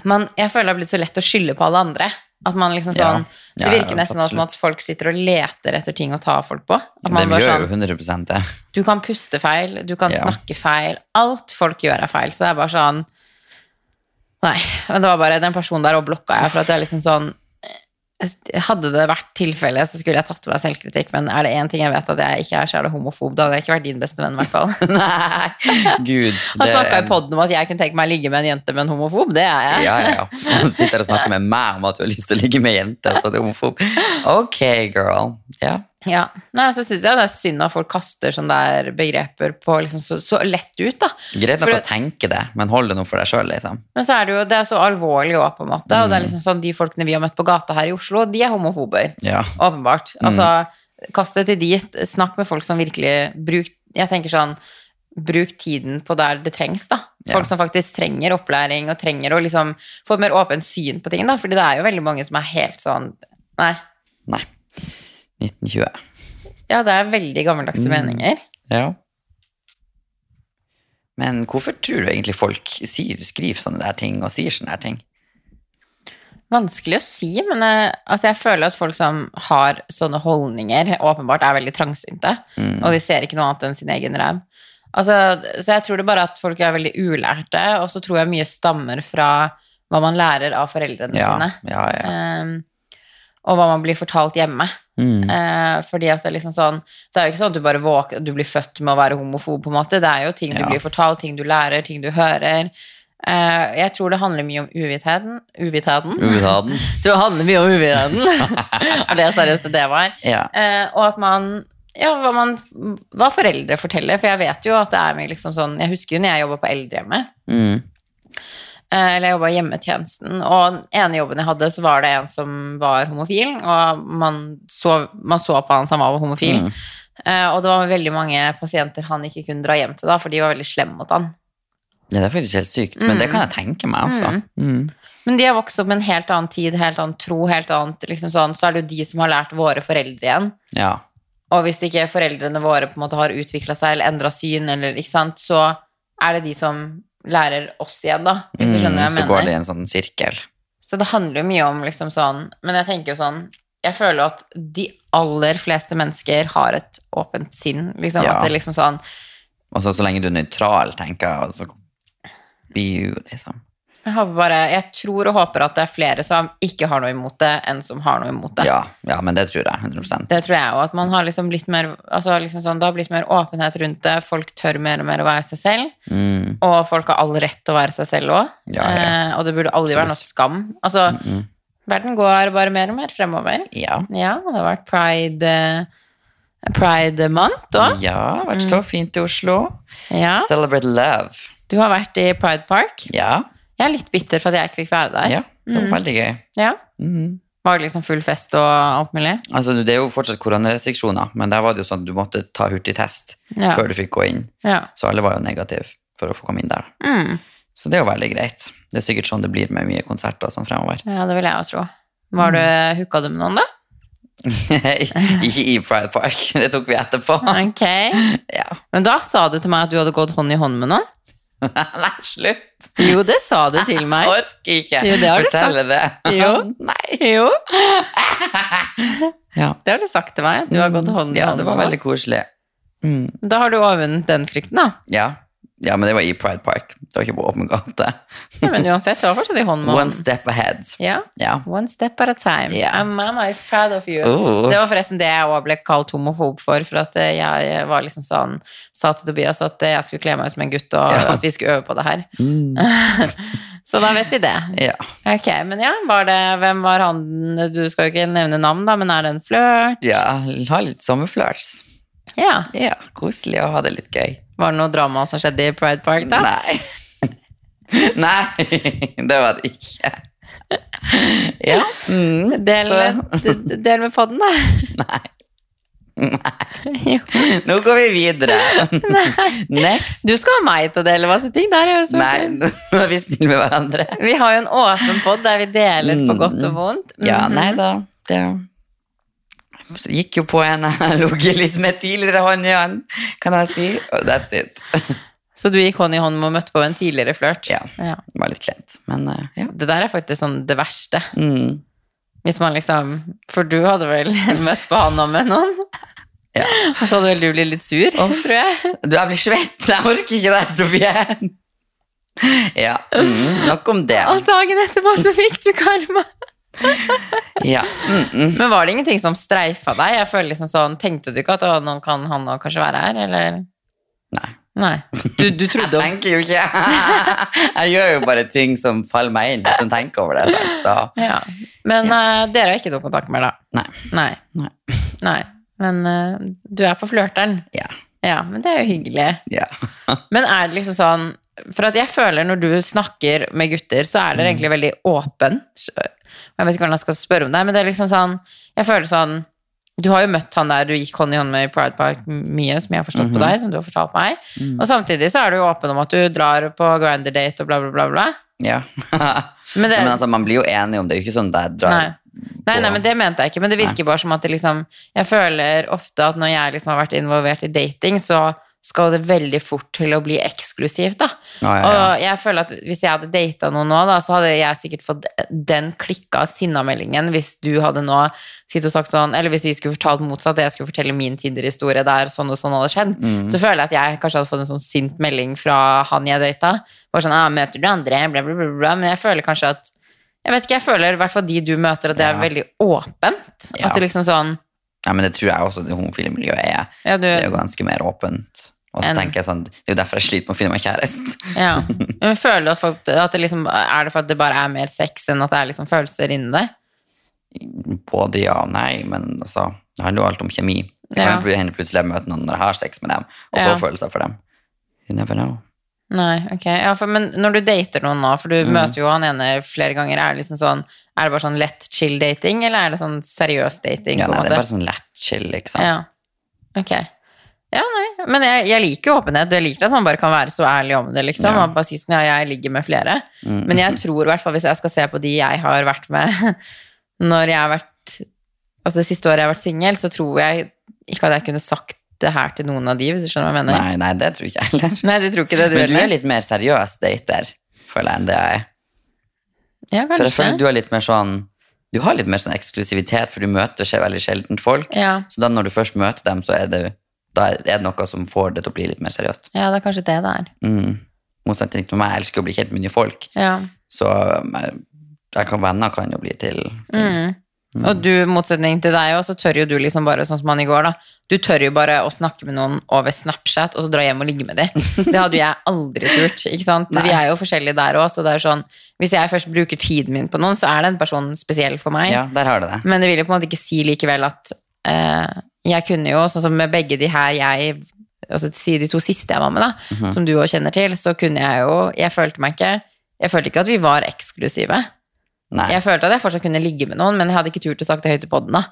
B: man, jeg føler det har blitt så lett å skylde på alle andre. At man liksom sånn,
A: Ja.
B: Det
A: Ja,
B: virker nesten som at folk sitter og leter etter ting å ta folk på. At
A: De
B: man bare
A: gjør
B: sånn,
A: jo 100 det.
B: Du kan puste feil, du kan
A: Ja.
B: snakke feil. Alt folk gjør er feil. Så det er bare sånn Nei. Men det var bare den personen der, og blokka jeg. For at jeg liksom sånn eh, Hadde det vært tilfelle, så skulle jeg tatt til meg selvkritikk. Men er det én ting jeg vet at jeg ikke er, så er det homofob. Da hadde jeg ikke vært din beste venn, i hvert fall.
A: Nei, gud.
B: Han
A: det-
B: snakka i poden om at jeg kunne tenke meg å ligge med en jente med en homofob. Det er jeg.
A: Ja, ja, ja. Han sitter og snakker med meg om at du har lyst til å ligge med jenter, så er det homofob. Ok, girl. Ja.
B: Ja. Nei, så syns jeg det er synd at folk kaster sånne der begreper på liksom så, så lett ut, da.
A: Greit nok
B: For-
A: å tenke det, men hold det nå for deg sjøl, liksom.
B: Men så er det jo det er så alvorlig òg, på en måte. Og det er liksom sånn de folkene vi har møtt på gata her i Oslo, de er homofober.
A: Ja.
B: Åpenbart. Altså, kast det til de. Snakk med folk som virkelig bruk, Jeg tenker sånn Bruk tiden på der det trengs, da.
A: Ja.
B: Folk som faktisk trenger opplæring, og trenger å liksom få et mer åpent syn på ting, da. Fordi det er jo veldig mange som er helt sånn Nei.
A: Nei. 1920.
B: Ja, det er veldig gammeldagse meninger.
A: Ja. Men hvorfor tror du egentlig folk sier, skriver sånne der ting og sier sånne der ting?
B: Vanskelig å si, men jeg, altså jeg føler at folk som har sånne holdninger, åpenbart er veldig trangsynte.
A: Mm.
B: Og de ser ikke noe annet enn sin egen ræv. Altså, så jeg tror det bare at folk er veldig ulærte, og så tror jeg mye stammer fra hva man lærer av foreldrene
A: Ja,
B: sine.
A: ja, ja.
B: Ehm, og hva man blir fortalt hjemme.
A: Mm.
B: Eh, fordi at det er liksom sånn Det er jo ikke sånn at du bare våk- du blir født med å være homofob, på en måte. Det er jo ting du
A: Ja.
B: blir fortalt, ting du lærer, ting du hører. Eh, jeg tror det handler mye om uvitheten. Uvitheten?
A: Uvitaden.
B: Jeg tror det handler mye om uvitenheten. Og det er seriøst det det var.
A: Ja.
B: Eh, og at man Ja, hva, man, hva foreldre forteller. For jeg vet jo at det er mye liksom sånn Jeg husker jo når jeg jobba på eldrehjemmet.
A: Mm.
B: Eh, Eller jeg jobba i hjemmetjenesten, og den ene jobben jeg hadde, så var det en som var homofil, og man så, man så på han som han var homofil.
A: Mm.
B: Eh, og det var veldig mange pasienter han ikke kunne dra hjem til da, for de var veldig slemme mot han.
A: ja, det er faktisk helt sykt,
B: Mm.
A: men det kan jeg tenke meg, altså. Mm.
B: Men de har vokst opp med en helt annen tid, helt annen tro, helt annet liksom sånn, så er det jo de som har lært våre foreldre igjen.
A: Ja.
B: Og hvis ikke foreldrene våre på en måte har utvikla seg eller endra syn, eller, ikke sant, så er det de som lærer oss igjen, da. Hvis du skjønner hva jeg
A: Mm, så
B: mener.
A: går det i en sånn sirkel.
B: Så det handler jo mye om liksom sånn Men jeg tenker jo sånn Jeg føler at de aller fleste mennesker har et åpent sinn. Liksom,
A: Ja.
B: At det liksom sånn
A: Og så, så lenge du er nøytral, tenker jeg, så blir jo liksom
B: jeg, håper bare, jeg tror og håper at det er flere som ikke har noe imot det, enn som har noe imot det.
A: Ja, ja, men det tror jeg. 100
B: Det tror jeg òg. At man har liksom litt mer altså liksom sånn, Det har blitt mer åpenhet rundt det. Folk tør mer og mer å være seg selv.
A: Mm,
B: Og folk har all rett til å være seg selv òg.
A: Ja, ja.
B: eh, og det burde aldri være noe skam. Altså,
A: mm.
B: verden går bare mer og mer fremover.
A: ja.
B: Ja, det har vært pride eh, Pride month òg.
A: Ja, vært så fint i Oslo.
B: Mm. Ja.
A: Celebrate love.
B: Du har vært i Pride Park.
A: Ja,
B: Jeg er litt bitter for at jeg ikke fikk være der.
A: ja det var veldig gøy.
B: Ja.
A: Mm.
B: Var det liksom full fest og alt mulig?
A: Altså, det er jo fortsatt koronarestriksjoner, men der var det jo sånn at du måtte ta hurtigtest
B: Ja.
A: før du fikk gå inn.
B: Ja.
A: Så alle var jo negative for å få komme inn der.
B: Mm.
A: Så det er jo veldig greit. Det er sikkert sånn det blir med mye konserter og sånn fremover.
B: ja, det vil jeg jo tro. Var du,
A: Mm.
B: Hooka du med noen, da?
A: Ikke i Pride Park, det tok vi etterpå.
B: Ok.
A: Ja.
B: Men da sa du til meg at du hadde gått hånd i hånd med noen.
A: Nei, slutt!
B: Jo, det sa du til
A: Jeg
B: meg.
A: orker ikke
B: Jo, det har du
A: fortelle det.
B: Jo.
A: Nei.
B: Jo,
A: Ja.
B: det har du sagt til meg. at Du har gått hånd
A: Mm.
B: i
A: ja,
B: hånd
A: det var
B: med
A: veldig koselig. Mm.
B: noen. Da har du overvunnet den frykten, da.
A: Ja. ja, men det var i Pride Park. Det var ikke på åpen gate.
B: Ja, men uansett, du var fortsatt i hånd med
A: One
B: hånd.
A: step ahead.
B: Ja.
A: Ja.
B: One step at a time.
A: Ja.
B: And mama is proud of you.
A: Oh.
B: Det var forresten det jeg også ble kalt homofob for, for at eh, jeg var liksom sånn, sa til Tobias at eh, jeg skulle kle meg ut som en gutt, og
A: Ja.
B: at vi skulle øve på det her.
A: Mm.
B: Så da vet vi det.
A: Ja.
B: Ok, men ja, var det, hvem var han, du skal jo ikke nevne navn da, men er det en flørt?
A: ja, ha litt sommerflørs.
B: Ja.
A: Ja, koselig å ha det litt gøy.
B: Var det noe drama som skjedde i Pride Park da?
A: Nei. Nei, det var det ikke. Ja. Mm.
B: Del,
A: Så,
B: d- del med podden da. Nei. Jo.
A: nå går vi videre. Next.
B: Du skal ha meg til å dele masse ting der. jeg er så-
A: Nei, nå er vi snille med hverandre.
B: Vi har jo en åpen podd der vi deler på godt og vondt.
A: Mm. Ja,
B: Mhm.
A: nei da. Det gikk jo på en jeg har ligget litt med tidligere hånd i hånd, kan jeg si. Og that's it.
B: Så du gikk hånd i hånd med og møtte på en tidligere flørt?
A: Ja, det var litt kleint, men eh, ja.
B: Det der er faktisk sånn det verste.
A: Mm.
B: Hvis man liksom For du hadde vel møtt på han og med noen?
A: Ja.
B: Og så hadde vel du blitt litt sur, tror jeg.
A: Du, jeg blir svett! Jeg orker ikke det, Sofie! Ja. Mm. Nok om det.
B: Og dagen etterpå så fikk du karma.
A: Ja. Mm -mm.
B: Men var det ingenting som streifa deg? Jeg føler liksom sånn, Tenkte du ikke at å, nå kan han nå kanskje være her, eller?
A: Nei.
B: Nei. Du, du
A: Jeg
B: trodde
A: tenker jo ikke Jeg gjør jo bare ting som faller meg inn, uten å tenke over det. sant? Så
B: ja. Men eh, dere har ikke noe kontakt mer, da?
A: nei.
B: Nei.
A: Nei.
B: Nei. Men eh, du er på flørteren.
A: Ja.
B: Ja, men det er jo hyggelig.
A: ja.
B: Men er det liksom sånn For at jeg føler når du snakker med gutter, så er dere egentlig veldig åpen. Jeg vet ikke hvordan jeg skal spørre om det, men det er liksom sånn Jeg føler sånn Du har jo møtt han der du gikk hånd i hånd med i Pride Park mye, som jeg har forstått på deg, som du har fortalt meg. Og samtidig så er du jo åpen om at du drar på Grinder-date og bla, bla, bla. bla.
A: ja.
B: Men det,
A: Men altså, man blir jo enig om det. Det er jo ikke sånn at jeg drar
B: Nei. Nei, nei, men det mente jeg ikke. Men det virker bare som at det liksom Jeg føler ofte at når jeg liksom har vært involvert i dating, så skal det veldig fort til å bli eksklusivt, da.
A: Å, ja, ja.
B: Og jeg føler at hvis jeg hadde data noen nå, da, så hadde jeg sikkert fått den klikka sinnameldingen hvis du hadde nå sittet og sagt sånn Eller hvis vi skulle fortalt motsatt, jeg skulle fortelle min Tinder-historie der sånn og sånn hadde skjedd,
A: Mm.
B: så føler jeg at jeg kanskje hadde fått en sånn sint melding fra han jeg data. Bare sånn ah, 'Møter du andre?' bla, bla, bla, bla. Men jeg føler kanskje at jeg vet ikke, jeg føler i hvert fall de du møter, at det er
A: Ja.
B: veldig åpent.
A: Ja.
B: At det liksom sånn
A: Ja, men det tror jeg også det homofile miljøet er.
B: Ja, du,
A: Det er jo ganske mer åpent. Og så
B: En-
A: tenker jeg sånn, Det er jo derfor jeg sliter med å finne meg kjæreste.
B: ja. Men føler du at, folk, at det liksom Er det for at det bare er mer sex enn at det er liksom følelser inni deg?
A: Både ja og nei, men altså, det handler jo alt om kjemi. Det kan
B: Ja.
A: jo plut- hende plutselig jeg møter noen når jeg har sex med dem, og
B: Ja.
A: får følelser for dem. You never know.
B: Nei, ok. Ja, for, men når du dater noen nå, for du
A: Mhm.
B: møter jo han ene flere ganger, er det liksom sånn Er det bare sånn lett chill dating, eller er det sånn seriøs dating?
A: Ja,
B: på
A: nei,
B: en
A: det er
B: måte?
A: bare sånn lett chill, liksom.
B: Ja. Ok. Ja, nei. Men jeg, jeg liker jo åpenhet. og Jeg liker at man bare kan være så ærlig om det, liksom.
A: Ja.
B: Og bare si sånn, ja, jeg ligger med flere.
A: Mm.
B: Men jeg tror i hvert fall, hvis jeg skal se på de jeg har vært med når jeg har vært Altså det siste året jeg har vært singel, så tror jeg ikke at jeg kunne sagt det her til noen av de, hvis du skjønner hva jeg mener.
A: Nei, nei, det tror ikke jeg heller.
B: Nei, du tror ikke det, du
A: Men du er
B: heller?
A: litt mer seriøs dater, føler jeg, enn det jeg er.
B: Ja,
A: For jeg
B: kanskje.
A: føler du er litt mer sånn Du har litt mer sånn eksklusivitet, for du møter seg veldig sjeldent folk.
B: Ja.
A: Så da når du først møter dem, så er det, da er det noe som får det til å bli litt mer seriøst.
B: ja, det er kanskje det det er.
A: Mm. Motsetning til meg, jeg elsker å bli kjent med nye folk.
B: Ja.
A: Så um, jeg, jeg kan, venner kan jo bli til, til
B: Mm. Og du, i motsetning til deg også, så tør jo du liksom bare, sånn som han i går da, du tør jo bare å snakke med noen over Snapchat, og så dra hjem og ligge med dem. Det hadde jo jeg aldri turt, ikke sant?
A: Nei.
B: Vi er jo forskjellige der også, så det er jo sånn, hvis jeg først bruker tiden min på noen, så er den personen spesiell for meg.
A: Ja, der har du det.
B: Men det vil jo på en måte ikke si likevel at eh, jeg kunne jo, sånn som med begge de her jeg altså si de to siste jeg var med da,
A: Mhm.
B: som du også kjenner til, så kunne jeg jo, jeg følte meg ikke, jeg følte ikke at vi var eksklusive.
A: Nei,
B: Jeg følte at jeg fortsatt kunne ligge med noen, men jeg hadde ikke turt å sagt det høyt i podden da.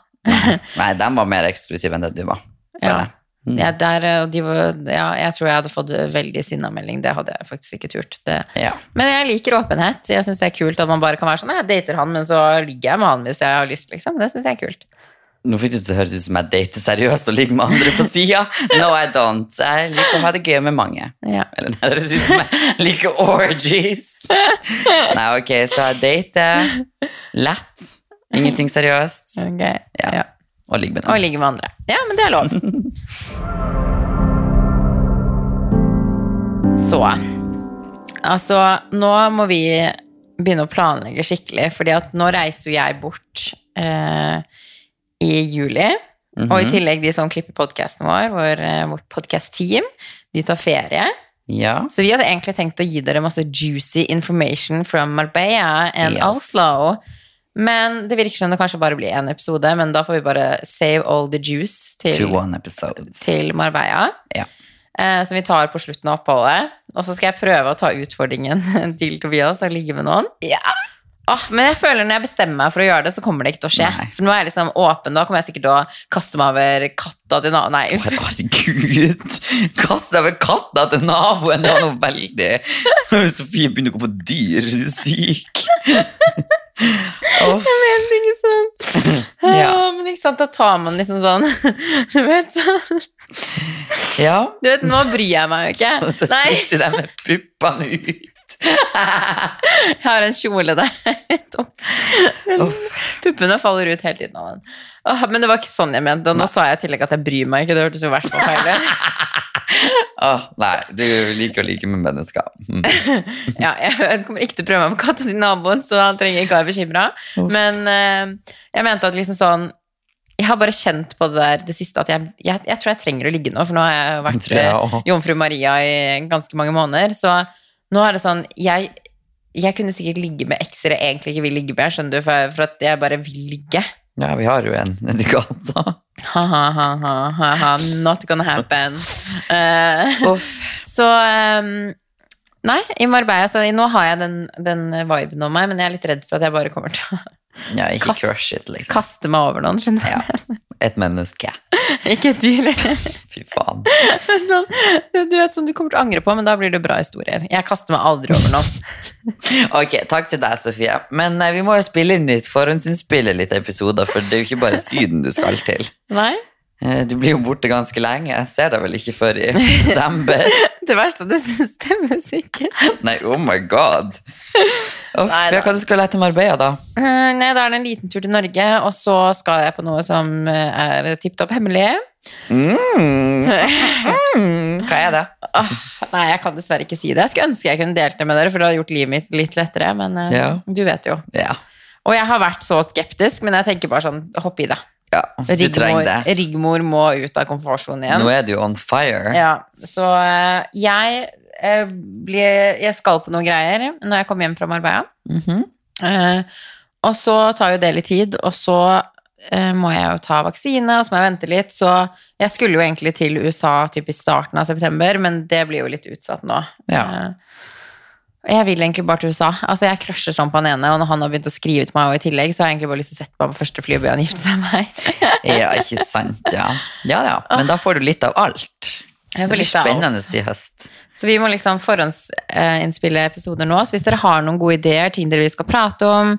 A: nei de var mer eksklusive enn det du var.
B: Ja.
A: føler jeg. Mm.
B: Ja, der, eh, og de var, ja, jeg tror jeg hadde fått veldig sinnamelding, det hadde jeg faktisk ikke turt. Det.
A: Ja.
B: Men jeg liker åpenhet, jeg synes det er kult at man bare kan være sånn, «Nei, jeg dater han, men så ligger jeg med han hvis jeg har lyst, liksom. Det synes jeg er kult.
A: Nå fikk det til å høres ut som jeg dater seriøst og ligger med andre på sida. No, I don't. Jeg liker å ha det gøy med mange.
B: Ja.
A: Eller nei, det høres ut som jeg liker orgies. Nei, ok, så jeg dater lett. Ingenting seriøst.
B: Ok,
A: Ja.
B: ja.
A: Og ligger med
B: Og
A: noen.
B: ligge med andre. Ja, men det er lov. Så Altså, nå må vi begynne å planlegge skikkelig, fordi at nå reiser jo jeg bort eh, i juli. Og i tillegg de som klipper podkasten vår, vår eh, vårt podkast-team, de tar ferie.
A: Ja.
B: Så vi hadde egentlig tenkt å gi dere masse juicy information from Marbella and
A: Yes.
B: Oslo. Men det virker som det kanskje bare blir én episode, men da får vi bare save all the juice
A: To
B: til,
A: one episode.
B: til Marbella.
A: Ja.
B: Eh, som vi tar på slutten av oppholdet. Og så skal jeg prøve å ta utfordringen til Tobias og ligge med noen.
A: Ja.
B: Åh, men jeg føler når jeg bestemmer meg for å gjøre det, så kommer det ikke til å skje.
A: Nei.
B: For nå er jeg liksom åpen, da kommer jeg sikkert til å kaste meg over katta til naboen. Nei, unnskyld.
A: Herregud! Kast deg med katta til naboen! Det var noe veldig Når Sofie begynner å gå på dyr syk. Uff.
B: helt ikke sånn.
A: Ja.
B: Ja, Men ikke sant, da tar man liksom sånn Du vet, sånn.
A: ja.
B: Du vet nå bryr jeg meg jo
A: Og så
B: ikke. Nei,
A: sitter de med puppene ut.
B: jeg har en kjole der. Tom. Men Puppene faller ut hele tiden av den. Åh, men det var ikke sånn jeg mente. Nå sa jeg i tillegg at jeg bryr meg ikke. Det hørtes jo verst på feil ut.
A: Åh, nei, du liker å like med mennesker. Mm.
B: Ja, jeg kommer ikke til å prøve meg med katta til naboen, så han trenger ikke å være bekymra.
A: Uff.
B: Men eh, jeg mente at liksom sånn Jeg har bare kjent på det der det siste at jeg, jeg, jeg tror jeg trenger å ligge nå, for nå har jeg vært
A: Tror jeg også.
B: jomfru Maria i ganske mange måneder. Så nå er det sånn Jeg, jeg kunne sikkert ligge med ekser jeg egentlig ikke vil ligge med, skjønner du, for, for at jeg bare vil ligge.
A: Ja, vi har jo en nedi gata.
B: Ha-ha-ha-ha. Not gonna happen. Eh,
A: Uff.
B: så ehm, Nei, i Marbella så nå har jeg den, den viben om meg, men jeg er litt redd for at jeg bare kommer til å
A: Ja, ikke
B: Kast-
A: crush it, liksom.
B: kaste meg over noen. skjønner du?
A: Ja. Et menneske.
B: Ikke et dyr.
A: Fy faen.
B: sånn, du vet sånn du kommer til å angre på, men da blir det bra historier. Jeg kaster meg aldri over noen.
A: Ok, takk til deg, Sofie. Men eh, vi må jo spille inn litt forhåndsinnspille litt episoder, for det er jo ikke bare Syden du skal til.
B: Nei?
A: Eh, Du blir jo borte ganske lenge. Jeg ser deg vel ikke før i desember?
B: Det verste er at det stemmer sikkert.
A: Nei, oh my god. Uff,
B: Nei
A: ja,
B: da.
A: hva du skal du til Marbella, da?
B: Eh, Nei, da er det en liten tur til Norge, og så skal jeg på noe som eh, er tipp topp hemmelig.
A: Mm. Mm. Hva er det?
B: Åh, Ah, nei, jeg kan dessverre ikke si det. Jeg skulle ønske jeg kunne delt det med dere, for det hadde gjort livet mitt litt lettere, men eh,
A: Ja.
B: du vet jo.
A: Ja.
B: Og jeg har vært så skeptisk, men jeg tenker bare sånn, hopp i det.
A: ja du trenger det.
B: Rigmor må ut av komfortsonen igjen.
A: Nå er du jo on fire.
B: Ja, så eh, jeg, eh, blir, jeg skal på noen greier når jeg kommer hjem fra Marbella.
A: Mhm.
B: Eh, og så tar jo det litt tid, og så eh, må jeg jo ta vaksine, og så må jeg vente litt. Så jeg skulle jo egentlig til USA typ i starten av september, men det blir jo litt utsatt nå.
A: Ja.
B: Eh, jeg vil egentlig bare til USA. Altså, jeg crusher sånn på han ene, og når han har begynt å skrive til meg og i tillegg, så har jeg egentlig bare lyst til å sette meg på første fly og be han gifte seg med meg.
A: Ja, ikke sant, ja. Ja, ja. Men da får du litt av alt.
B: Jeg
A: Det
B: får
A: blir
B: lyst til alt.
A: spennende i høst.
B: Så vi må liksom forhåndsinnspille episoder nå. Så hvis dere har noen gode ideer, ting dere vi skal prate om,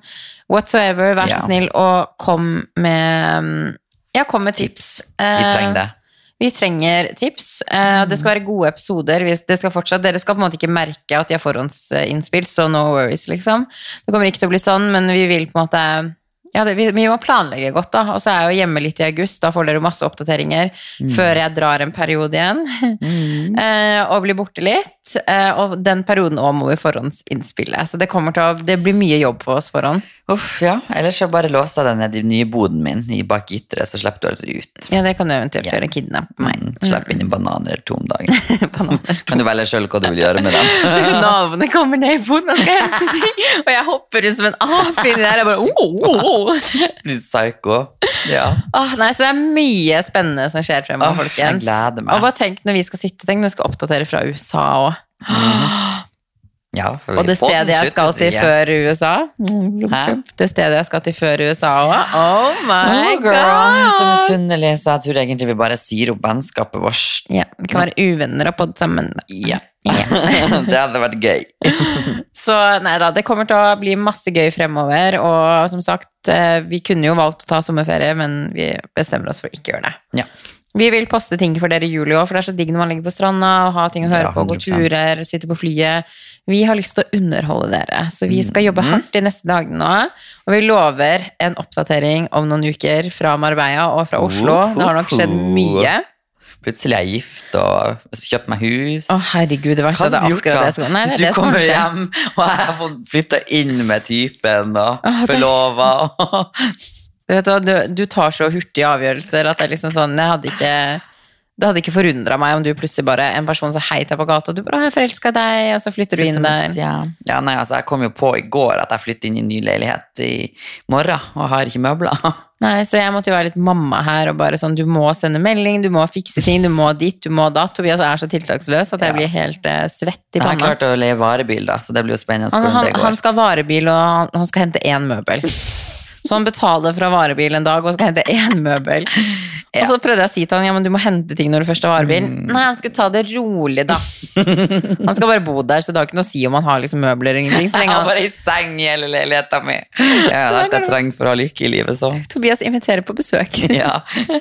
B: whatsoever, vær så
A: Ja.
B: snill og kom med mm, Ja, kom med tips. Eh,
A: Vi trenger det. Mm.
B: Vi trenger tips. Eh, Det skal være gode episoder. Hvis det skal fortsatt, dere skal på en måte ikke merke at de er forhåndsinnspilt, så no worries, liksom. Det kommer ikke til å bli sånn, men vi vil på en måte ja, det, vi, vi må planlegge godt, da. Og så er jeg jo hjemme litt i august. Da får dere masse oppdateringer
A: Mm.
B: før jeg drar en periode igjen. eh, og blir borte litt. Eh, og den perioden òg må vi forhåndsinnspille. Så det, kommer til å, det blir mye jobb på oss forhånd.
A: Uff, ja. Ellers så bare låser jeg den ned i den nye boden min i bak gitteret, så slipper du aldri ut.
B: Ja, det kan du eventuelt
A: Ja.
B: gjøre. Kidnappe meg.
A: Mm, Slipp inn i bananer eller to om dagen.
B: Bananer.
A: Kan du velge sjøl hva du vil gjøre med dem?
B: Naboene kommer ned i boden og skal hente ting, og jeg hopper rundt som en ape inni der. Jeg bare, oh, oh, oh.
A: Blir psyko. Ja.
B: Åh, nei, så det er mye spennende som skjer fremover,
A: Åh,
B: folkens.
A: jeg gleder meg.
B: Og bare tenk når vi skal sitte, tenk når vi skal oppdatere fra USA òg.
A: ja for
B: Og
A: podden
B: det stedet jeg skal
A: sluttes
B: til
A: ikke.
B: før USA.
A: Hæ?
B: Det stedet jeg skal til før USA òg. Oh my
A: Oh, girl, hun er så
B: god!
A: misunnelig, så jeg tror egentlig vi bare sier opp vennskapet vårt.
B: Ja, vi kan være uvenner og podde sammen.
A: Ja.
B: Ja.
A: det hadde vært gøy.
B: Så nei da, det kommer til å bli masse gøy fremover. Og som sagt, eh, vi kunne jo valgt å ta sommerferie, men vi bestemmer oss for å ikke gjøre det.
A: Ja.
B: Vi vil poste ting for dere i juli òg, for det er så digg når man ligger på stranda og har ting å høre
A: Ja,
B: på, gå
A: 100%.
B: turer, sitte på flyet. Vi har lyst til å underholde dere, så vi skal jobbe
A: Mhm.
B: hardt de neste dagene nå. Og vi lover en oppdatering om noen uker fra Marbella og fra Oslo. Det har nok skjedd mye.
A: Plutselig er jeg gift og kjøpt meg hus.
B: Å, herregud, det verste
A: Hva
B: er det
A: hadde du gjort
B: akkurat
A: da?
B: det som Nei, det
A: Hvis
B: er det
A: du
B: som
A: kommer
B: skjer.
A: hjem og jeg har fått flytta inn med typen og
B: Åh, det-
A: forlova og
B: Du, vet, hva, du, du tar så hurtige avgjørelser at det er liksom sånn Jeg hadde ikke Det hadde ikke forundra meg om du plutselig bare en person som heiter deg på gata, og du bare 'Å, jeg forelska deg', og så flytter du inn der.
A: Ja. ja, nei, altså, jeg kom jo på i går at jeg flytter inn i en ny leilighet i morgen, og har ikke møbler.
B: Nei, så jeg måtte jo være litt mamma her og bare sånn Du må sende melding, du må fikse ting, du må dit, du må datt. Tobias er så tiltaksløs at jeg
A: Ja.
B: blir helt eh, svett i
A: Jeg har
B: panna.
A: klart å leie varebil, da, så det blir jo spennende
B: Han,
A: hvordan
B: han,
A: det går.
B: han skal ha varebil, og han, han skal hente én møbel. Så han betaler fra varebil en dag og skal hente én møbel. Og så prøvde jeg å si til han ja, men du må hente ting når du først har varebil. Nei, han skulle ta det rolig, da. Han skal bare bo der, så det har ikke noe å si om han har liksom møbler eller ingenting. Så
A: Jeg
B: lenge
A: har
B: han
A: bare i seng i hele leiligheten min. Jeg har
B: Så
A: alt
B: der
A: jeg
B: går det.
A: trenger for å ha lykke i livet, så.
B: Tobias inviterer på besøk.
A: Ja,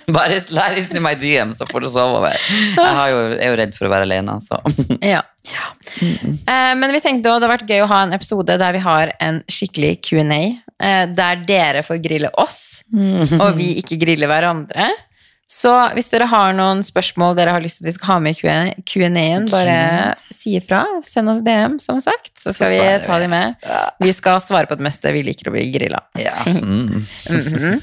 A: bare slide into my DM, så får du sove over. Jeg har jo, er jo redd for å være alene, så.
B: Ja. Eh, Men vi tenkte også, det har vært gøy å ha en episode der vi har en skikkelig Q&A, eh, der dere får grille oss, og
A: Mhm.
B: vi ikke griller hverandre. Så hvis dere har noen spørsmål dere har lyst til at vi skal ha med i Q&A Q&A-en, bare si ifra. Send oss DM, som sagt, så skal vi
A: svarer
B: ta
A: vi.
B: dem med.
A: Ja.
B: Vi skal svare på det meste. Vi liker å bli grilla.
A: Ja. Mm.
B: Mhm.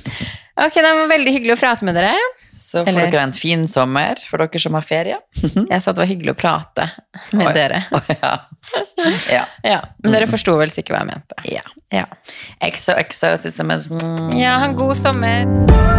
B: Ok, det var veldig hyggelig å prate med dere.
A: Så får
B: Eller-
A: dere en fin sommer, for dere som har ferie.
B: Jeg sa det var hyggelig å prate med
A: Mhm. Oi. Mhm.
B: dere.
A: Ja. ja.
B: Ja, men dere forsto vel sikkert hva jeg mente.
A: ja.
B: Ja.
A: XOXO, synes jeg. men-
B: Ja, ha en god sommer.